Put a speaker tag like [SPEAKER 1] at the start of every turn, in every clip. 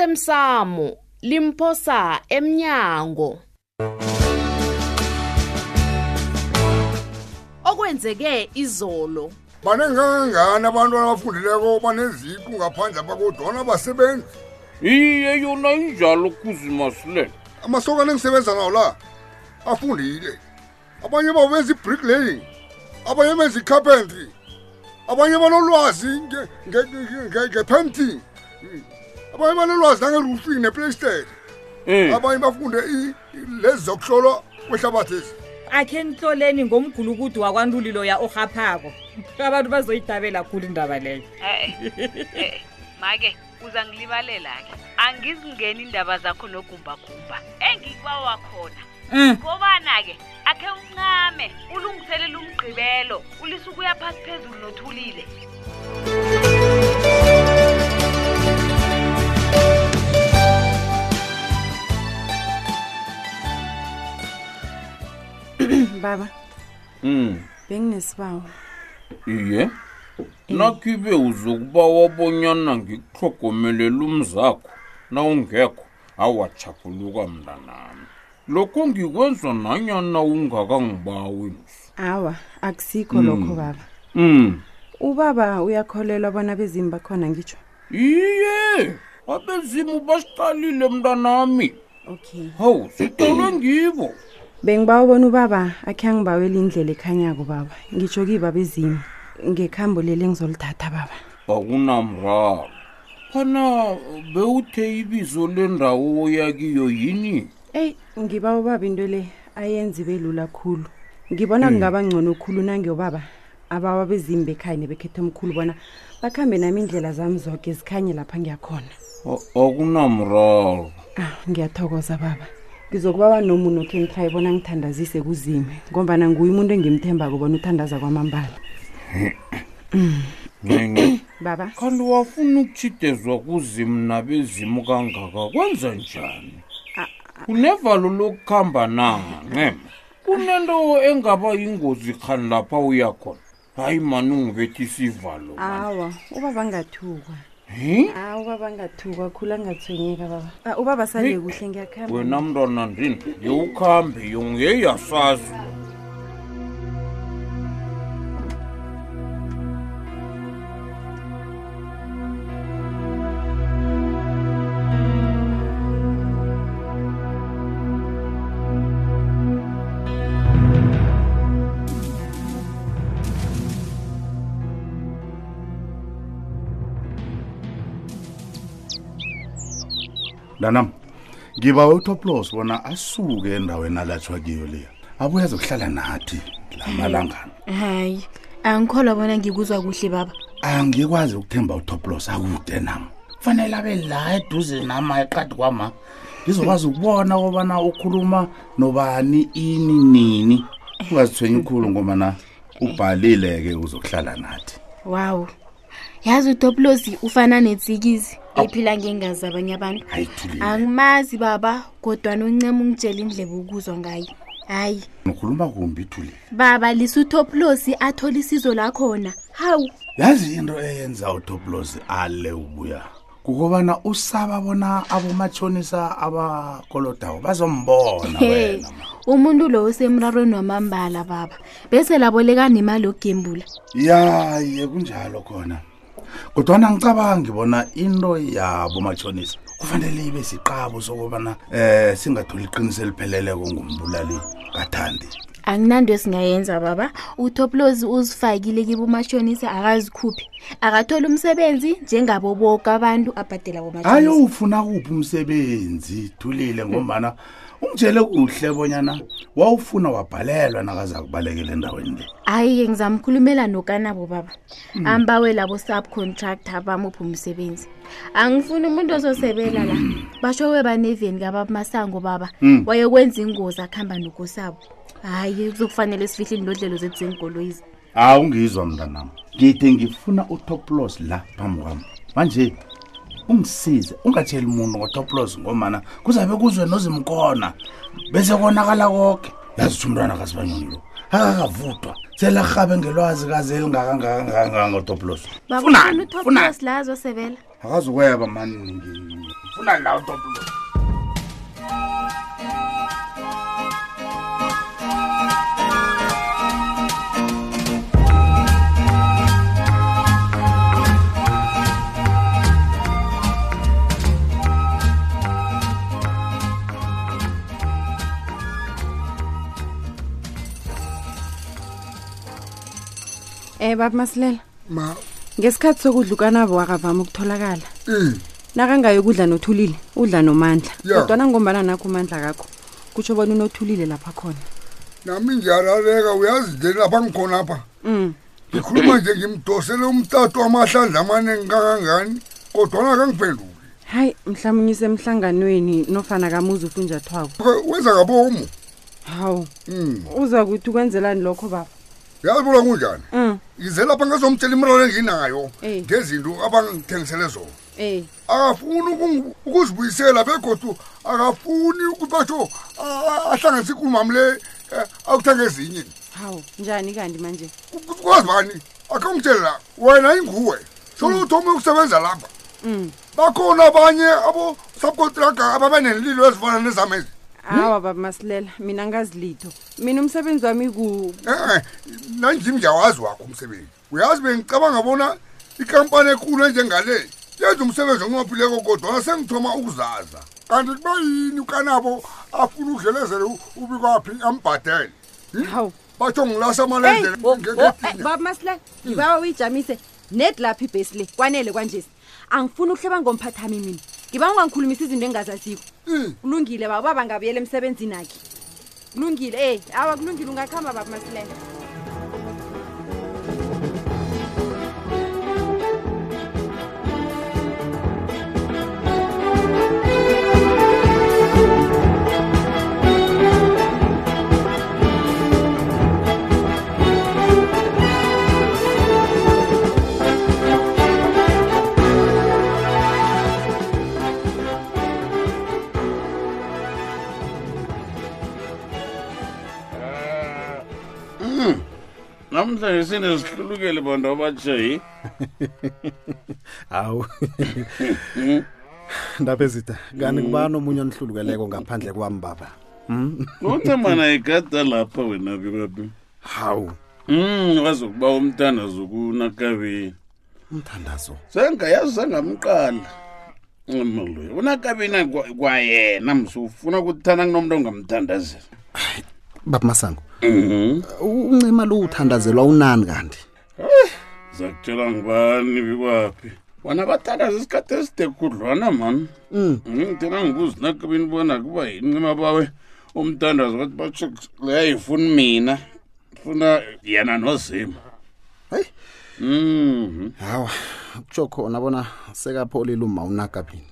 [SPEAKER 1] osemsamo limphosa emnyango okwenzeke izolo
[SPEAKER 2] baningi kangangani abantu abafundileko baneziqu ngaphandle apha kodwana basebenzi
[SPEAKER 3] iye yona injalo kuzimasilela
[SPEAKER 2] amasokana engisebenza nawo la afundile abanye babo benza i-brick laying abanye benza i-carpentry abanye banolwazi nge- nge- nge- nge- nge-painting Mm. abanye banolwazi nange-roofing ne-playstel
[SPEAKER 3] um
[SPEAKER 2] abanye bafunde i- i- lezi zokuhlolwa kwehlabathezi
[SPEAKER 4] akhe nihloleni ngomgulukudu wakwantulilo ya orhaphako abantu bazoyidabela khulu indaba leyo
[SPEAKER 5] make uzangilibalela-ke angizingeni iindaba zakho nogumbagumba engikubawa khona
[SPEAKER 4] um
[SPEAKER 5] kobana-ke akhe uncame ulungiselele umgqibelo ulise ukuya phasi phezulu nothulile
[SPEAKER 6] baba
[SPEAKER 3] um
[SPEAKER 6] benginesibawo
[SPEAKER 3] iye nakhibe uzokuba wabonyana ngikuhlogomelela umzakho nawungekho awachapuluka mntanami lokho ngikwenza nanyana ungakangibawi msi
[SPEAKER 6] awa akusikho lokho baba
[SPEAKER 3] um
[SPEAKER 6] ubaba uyakholelwa bona bezimu bakhona ngitsho
[SPEAKER 3] iye abezimu basiqalile mntanami
[SPEAKER 6] okay
[SPEAKER 3] hawu sicelwe ngibo
[SPEAKER 6] bengiba ubona ubaba akhe angibawela indlela ekhanyako baba ngitsho kiba bezimu ngekhambo leli engizolithatha baba
[SPEAKER 3] akunamraro phana bewuthe ibizo lendawo oyakiyo yini
[SPEAKER 6] eyi ngiba ubaba into le ayenzi belula khulu ngibona kungaba ngcono khulu nangiyobaba abawa bezimu bekhaya nebekhetha omkhulu bona bakhambe nami indlela zami zoke zikhanye lapha ngiyakhona
[SPEAKER 3] A- akunamraro
[SPEAKER 6] aw Ah, ngiyathokoza baba ngizokubawa nomuno khe ngihlaye bona ngithandazise kuzime ngombana nguye umuntu engimthembako bona uthandaza kwamambala
[SPEAKER 3] nene
[SPEAKER 6] baba
[SPEAKER 3] kanti wafuna ukutshidezwa kuzimu nabezimu kangaka kwenza njani unevalo lokuhamba nange kunento engaba yingozi khani lapha uya khona hayi mani ungibethisa ivalo man.
[SPEAKER 6] awa ubaba ngathukwa
[SPEAKER 3] Hi?
[SPEAKER 6] aw ubaba ngathukwa khulu angathwenyeka baba Ah, ubaba sale
[SPEAKER 3] Hey.
[SPEAKER 6] kuhle ngiyakhamba
[SPEAKER 3] wena mntwana ndini yewukhambe yongeyasazi
[SPEAKER 7] mntanam ngibawe utoplos bona asuke endaweni alatshwa kiyo leya abuye azokuhlala nathi la malangana
[SPEAKER 8] hayi angikholwa bona ngikuzwa kuhle baba
[SPEAKER 7] angikwazi ukuthemba utoplos akude nam kufanele abe la eduze nama eqadi kwama ngizokwazi ukubona kobana ukhuluma nobani ini nini ungazithwenyi ukhulu ngobana ubhalile-ke uzokuhlala nathi
[SPEAKER 8] wawu yazi utopulosi ufana netsikizi ephila ngengazi zabanye abantu
[SPEAKER 7] hayi thulile
[SPEAKER 8] angimazi baba kodwa noncema ungitshela indleba ukuzwa ngayo hayi
[SPEAKER 7] ukhuluma kumbi thulile
[SPEAKER 8] baba lisutopulosi athole isizo lakhona hawu
[SPEAKER 7] yazi into eyenza utoplos ale ubuya kukobana usaba bona abomatshonisa abakolodawo bazombona
[SPEAKER 8] he
[SPEAKER 7] wena ma.
[SPEAKER 8] umuntu lo usemrarweni wamambala baba bese laboleka nemali yokugembula
[SPEAKER 7] ya ye kunjalo khona kodwana ngicabangi bona into yabomatshonisa kufanele ibe siqabo sokobana eh singatholi iqiniso elipheleleko ngumbulali kathandi
[SPEAKER 8] anginanto esingayenza baba utopulosi uzifakile kibo umashonisa akazikhuphi akatholi umsebenzi njengabo boke abantu abhadela
[SPEAKER 7] hayi
[SPEAKER 8] bomashonisa
[SPEAKER 7] ufuna kuphi umsebenzi thulile ngombana ungitshele kuhle bonyana wawufuna wabhalelwa nakaza kubalekela endaweni le
[SPEAKER 8] hayi-ke ngizamkhulumela nokanabo baba ambawe labo subcontractor bamuphi umsebenzi angifuni umuntu ozosebela la basho webaneveni kababa masango baba wayekwenza ingozi akuhamba nokosabo haayi kuzokufanele sifihle inlodlelo zethu zenkoloyizi
[SPEAKER 7] hawu ungizwa mntanam ngide ngifuna utoplos la phambi kwami manje ungisize ungatsheli muntu ngotoplos ngomana kuzabe kuzwe nozimkona bese konakala koke yazitho umntwana kasibanyoni lo akakavudwa selarhabe ngelwazi kaze elingakangakangakangotoplos
[SPEAKER 8] babafuna utoplos la azosebela
[SPEAKER 7] akazukweba mani
[SPEAKER 9] funa la utoplos
[SPEAKER 6] um baba masilela
[SPEAKER 2] ma
[SPEAKER 6] ngesikhathi sokudlukanabo akavami ukutholakala
[SPEAKER 2] i
[SPEAKER 6] nakangayokudla nothulile udla nomandla
[SPEAKER 2] Ya.
[SPEAKER 6] kodwana ngombana nakho umandla kakho kutsho bona unothulile lapha khona
[SPEAKER 2] nami ngiyarareka uyazi nje lapha ngikhona apha
[SPEAKER 6] um
[SPEAKER 2] ngikhuluma nje ngimdosele umtato amahlandla amaningi kangangani kodwana kangiphenduli
[SPEAKER 6] hayi mhlawumunye usemhlanganweni nofana kamuzi ufunjathwako
[SPEAKER 2] wenza ngabomu
[SPEAKER 6] hawu
[SPEAKER 2] Mm.
[SPEAKER 6] uza kuthi ukwenzelani lokho baba
[SPEAKER 2] yazi bona kunjani
[SPEAKER 6] um
[SPEAKER 2] yize lapha ngazomtshela imraro enginayo
[SPEAKER 6] Eh.
[SPEAKER 2] ngezinto abangithengisele zona
[SPEAKER 6] ey
[SPEAKER 2] akafuni ukungi- ukuzibuyisela begodu akafuni ukuthi basho ahlanganise ikulumami le eh, akuthenga ezinye
[SPEAKER 6] hawu njani kanti manje
[SPEAKER 2] Ku- kwazi bani akhe ngitshela wena inguwe
[SPEAKER 6] Mm.
[SPEAKER 2] solo uthome ukusebenza lapha
[SPEAKER 6] um
[SPEAKER 2] bakhona abanye abo-subcontractor ababe nenlilo ezifana nezamezi
[SPEAKER 6] hawa baba masilela mina ngazilitho mina umsebenzi wami ku
[SPEAKER 2] e-e nanjim ngiyawazi wakho umsebenzi uyazi bengicabanga bona ikampani ekhulu enjengale yenza umsebenzi onqophileko kodwana sengithoma ukuzaza kanti kuba yini ukanabo afuna udlelezele u- ubikwaphi ambhadele
[SPEAKER 6] hawu
[SPEAKER 2] batho ngilasa
[SPEAKER 6] Hey,
[SPEAKER 2] amalendele
[SPEAKER 6] wo-
[SPEAKER 2] nge-
[SPEAKER 6] wo- eh,
[SPEAKER 2] ngetinya.
[SPEAKER 6] baba masilela ngibawa uyijamise ned lapha ibhesi le kwanele kwanjesi angifuni ukuhleba ngomphathami mina ngiba ungangikhulumisa izinto engingazaziko
[SPEAKER 2] Mm.
[SPEAKER 6] kulungile baba ubaba ngabuyela emsebenzini akhe kulungile ey awa kulungile ungakhamba baba masilela
[SPEAKER 3] namhlanje sinesihlulukeli bantu abatshayi
[SPEAKER 7] hawu Hmm, ndaba ezida kanti kubani omunye onihlulukeleko ngaphandle kwami baba
[SPEAKER 3] uthemana igada lapha wena bibabi
[SPEAKER 7] hawu
[SPEAKER 3] um wazokuba umthandazo kunakabeni
[SPEAKER 7] umthandazo
[SPEAKER 3] sengayazi sangamqala umaloyo unakabeni akwa- kwayena mse ufuna ukuthanda kunomntu ongamthandazela
[SPEAKER 7] baba masango
[SPEAKER 3] Mhm.
[SPEAKER 7] u- uncima lo uthandazelwa unani kanti
[SPEAKER 3] zakutshela ngubani bikwaphi bona bathandaza isikhathi eside khudlwana mani ngithena ngokuzinakabeni bona kuba yincima bawe umthandazo bathi batsho leyayifuni mina funa yena nozima
[SPEAKER 7] Hayi.
[SPEAKER 3] Mhm.
[SPEAKER 7] hawa kutsho khona bona sekapholile uma unakabini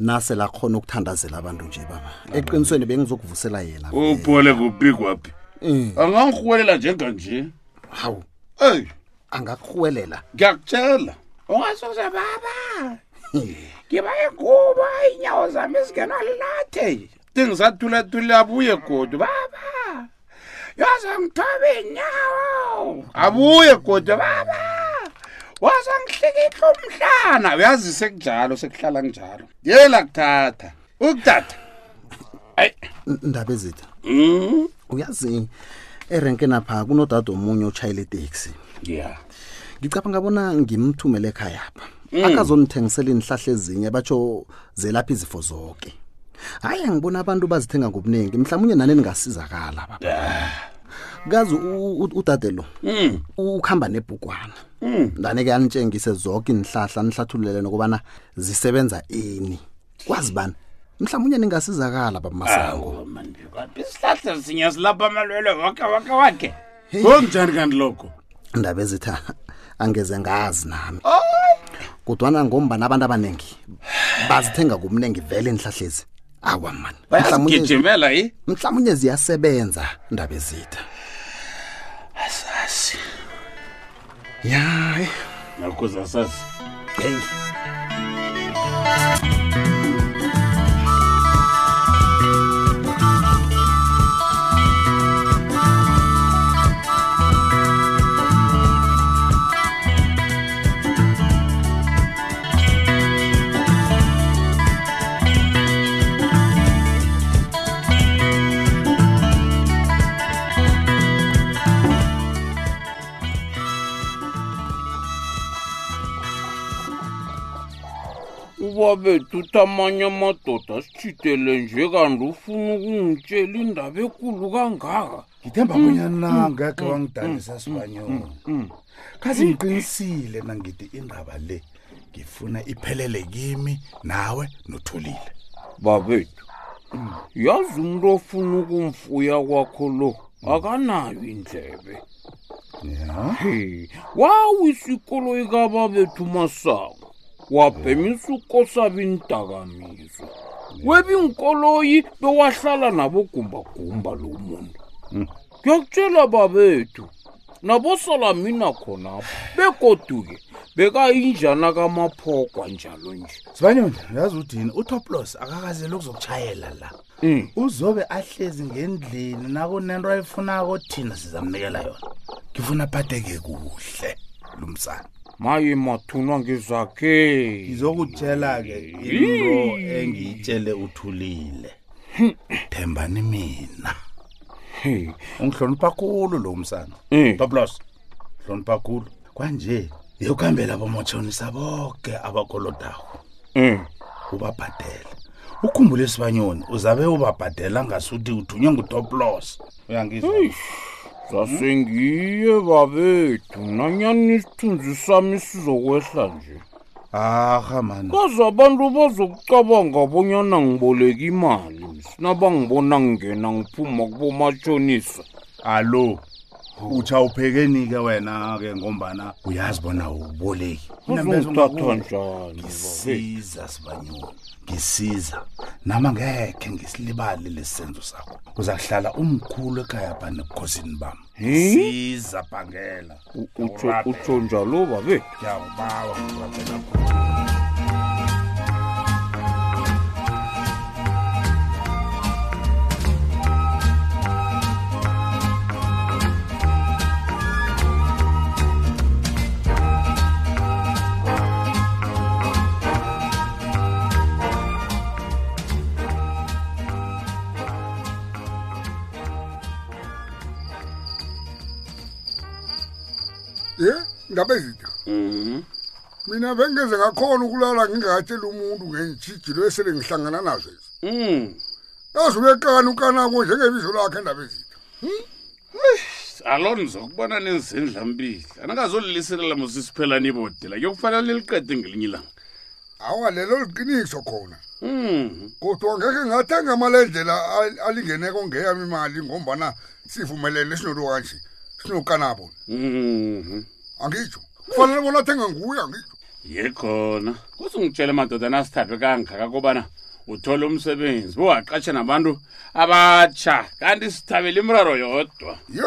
[SPEAKER 7] nase lakhona ukuthandazela abantu nje baba eqinisweni bengizokuvusela yena
[SPEAKER 3] uphole kuphi kwaphi
[SPEAKER 7] Eh,
[SPEAKER 3] angangirhuwelela njenganje
[SPEAKER 7] hawu
[SPEAKER 3] eyi
[SPEAKER 7] angakuhwelela
[SPEAKER 3] ngiyakutshela ungasoze baba ngiba ingubo iinyawo zami ezingenwa lilathe tingisathulathula abuye godwa baba yozangithoba iinyawo abuye godwa baba wazangihlikihla umhlana uyazi sekunjalo sekuhlala kunjalo yela kuthatha ukuthatha ayi
[SPEAKER 7] N- ndaba ezitha
[SPEAKER 3] Mm,
[SPEAKER 7] uyazi erenkeni apha kunodade omunye otshayela iteksi
[SPEAKER 3] yeah
[SPEAKER 7] ngicabanga bona ngimthumele ekhaya apha
[SPEAKER 3] Mm.
[SPEAKER 7] akazonithengisela inihlahla ezinye batsho zelapha izifo zonke hayi angibona abantu bazithenga ngobuningi mhlawumunye nani ningasizakala baba kazi u- u- udade lo
[SPEAKER 3] Eh. Mm,
[SPEAKER 7] ukuhamba nebhukwana
[SPEAKER 3] mm.
[SPEAKER 7] ndane-ke anitshengise zonke inihlahla nihlathululele nokubana zisebenza ini kwazi bani mhlawumunye ningasizakala baba masango
[SPEAKER 3] awu man isihlahla sinye silapha amalwelwe wake wake wake kunjani kanti lokho
[SPEAKER 7] indaba ezitha angeze ngazi nami kudwana ngombana abantu abaningi bazithenga kumningi vele inihlahlezi awa mani mhlawumnye
[SPEAKER 3] bayazigijimela yi
[SPEAKER 7] mhlawumnye ziyasebenza indaba ezitha
[SPEAKER 3] asazi
[SPEAKER 7] ya eh,
[SPEAKER 3] nakhoza asazi
[SPEAKER 7] hey
[SPEAKER 10] bethu uthi amanye amadoda asitshidele nje kanti ufuna ukungitshela indaba ekulu kangaka
[SPEAKER 7] ngithemba bonyana ngekhe wangidanisa sibanyoni kazi ngiqinisile nangithi indaba le ngifuna iphelele kimi nawe notholile
[SPEAKER 10] babethu yazi umuntu ofuna ukumfuya kwakho lo akanayo indlebe He, wawisa ikoloyi kababethu masango wabhemisa ukosabintakamizwa webinkoloyi bewahlala nabogumbagumba lo muntu ngiyakutshela babethu nabosalamina khonapho begoduke bekayinjana kamaphogwa njalo nje
[SPEAKER 7] sibanyoni uyazi udini utoplos akakazeli ukuzokutshayela la uzobe ahlezi ngendlini nakunento ayifunako thina sizamnikela yona ngifuna aphatheke kuhle lumsana
[SPEAKER 10] maye mathunwa ngizakhe
[SPEAKER 7] ngizokutshela-ke into engiyitshele uthulile thembani mina ungihlonipha khulu lo umsana
[SPEAKER 10] hmm,
[SPEAKER 7] toplos hlonipha khulu kwanje yokuhambela bomotshonisa boke abakolodawo
[SPEAKER 10] hmm.
[SPEAKER 7] ubabhadele ukhumbule sibanyoni uzabe ubabhadela ngasuthi uthunywe ngutoplos
[SPEAKER 10] zasengiye babethu nanyani isithunzi sami sizokwehla nje
[SPEAKER 7] aha mani
[SPEAKER 10] kaze abantu bazokucabanga bonyana ngiboleka imali sinabangibona ngingena ngiphuma kubomatshonisa
[SPEAKER 7] alo utsha uphekeni-ke wena-ke ngombana uyazi bona uboleki
[SPEAKER 10] uzongithathwa njani babethu?
[SPEAKER 7] ngisiza sibanyoni ngisiza nama ngekhe ngisilibali lesenzo sakho uza kuhlala umkhulu ekhaya pha nebukhosini bam siza bhangela
[SPEAKER 10] U- utsho- utsho njalo babe
[SPEAKER 7] ngiyakubawa ngirabhela
[SPEAKER 2] ye ngabe zitha mina bengeze ngakhona ukulala ngingakatsheli umuntu ngentshijilo esele ngihlangana nazo ezi
[SPEAKER 3] Mm.
[SPEAKER 2] yazi ubekani ukanako njengebizo lakhe endaba ezitha
[SPEAKER 3] alo ndizokubona nizindlambili andingazoliliselela mosisiphela nibodela kuyokufanele liqede ngelinye ilanga
[SPEAKER 2] awa lelo liqiniso khona
[SPEAKER 3] Mm.
[SPEAKER 2] kodwa ngeke ngathenga amalendlela al- alingeneko ngeyami imali ngombana sivumelele sinolo kanje sinokanabo
[SPEAKER 3] Mhm.
[SPEAKER 2] angitsho kufanele bona athenge nguye angitsho
[SPEAKER 3] yekhona kuzungitshela madodana asithathwe kangaka kobana uthole umsebenzi bowaqatsha nabantu abatsha kanti sithabela imraro yodwa
[SPEAKER 2] ye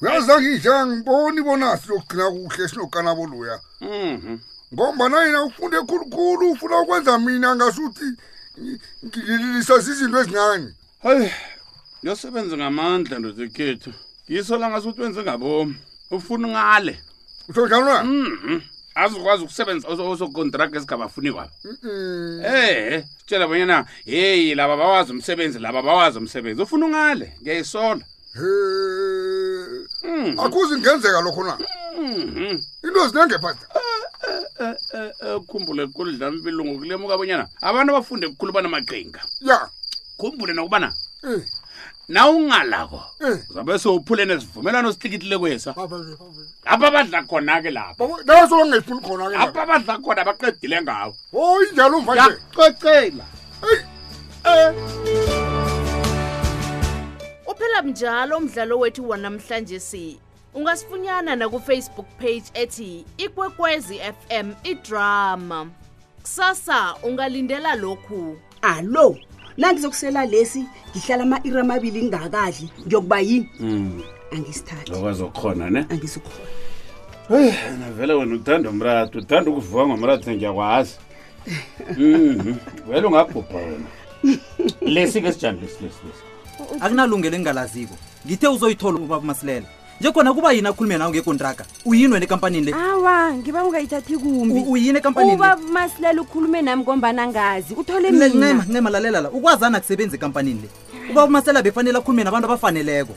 [SPEAKER 2] uyazi angitsho angiboni bona silokugcina kuhle sinokanabo luya
[SPEAKER 3] Mhm.
[SPEAKER 2] ngombana yena ufunde khulukhulu ufuna ukwenza mina ngasuthi ngi- ngililisa zizinto ezincane
[SPEAKER 3] hayi yosebenza ngamandla ndodekhethu yiso langasuthi wenze ngabom ufuna ungale
[SPEAKER 2] utho njalo na
[SPEAKER 3] Mhm. azokwazi ukusebenza osokontrakt esingabafuni kwabo
[SPEAKER 2] Mm. Mm-mm.
[SPEAKER 3] ehe tshela bonyana heyi laba bawazi umsebenzi laba bawazi umsebenzi ufuna ungale ngiyayisola
[SPEAKER 2] He. akuzi kungenzeka lokho na
[SPEAKER 3] Mhm.
[SPEAKER 2] into zinangephasa
[SPEAKER 3] khumbule kulidlampilo ngokulemuka bonyana abantu abafunde kukhulu banamaqinga
[SPEAKER 2] ya
[SPEAKER 3] khumbule nokubana
[SPEAKER 2] Eh,
[SPEAKER 3] na ungalako
[SPEAKER 2] eh.
[SPEAKER 3] uzabe sewuphule nesivumelwano sihlikitile kwesa
[SPEAKER 2] Baba, baba, baba.
[SPEAKER 3] apha badla khona-ke lapho
[SPEAKER 2] Baba, nawe solo ngayifuni khona ke
[SPEAKER 3] apha badla khona baqedile ngawo
[SPEAKER 2] o injalo mva nje Eh.
[SPEAKER 3] yacocela
[SPEAKER 1] uphela mnjalo umdlalo wethu wanamhlanje si ungasifunyana nakufacebook page ethi ikwekwezi fm idrama kusasa ungalindela lokhu
[SPEAKER 11] alo nangizokusela lesi ngihlala ama-iri amabili ngingakadli ngiyokuba yini angisithathi
[SPEAKER 3] okwazokhona ne
[SPEAKER 11] angisukhona
[SPEAKER 3] eyi yena vele wena uthanda umrati uthanda ukuvuka ngomrati ngiyakwazi Mhm. vele ungabhubha wena lesi-ke sijani lesi lesi lesi
[SPEAKER 12] akunalungelo engingalaziko ngithe uzoyithola ubaba masilela nje khona kuba yini akhulume nawe ngekontraka uyini wena enkampanini le
[SPEAKER 6] awa ngiba ungayithathi kumbi
[SPEAKER 12] U- uyini ekampanini?
[SPEAKER 6] ubaba masilela ukhulume nami ngombana ngazi uthole
[SPEAKER 12] Ne-
[SPEAKER 6] mina
[SPEAKER 12] ncema ncema lalela la ukwazana kusebenzi ekampanini le ubaba masilela befanele akhulume nabantu abafaneleko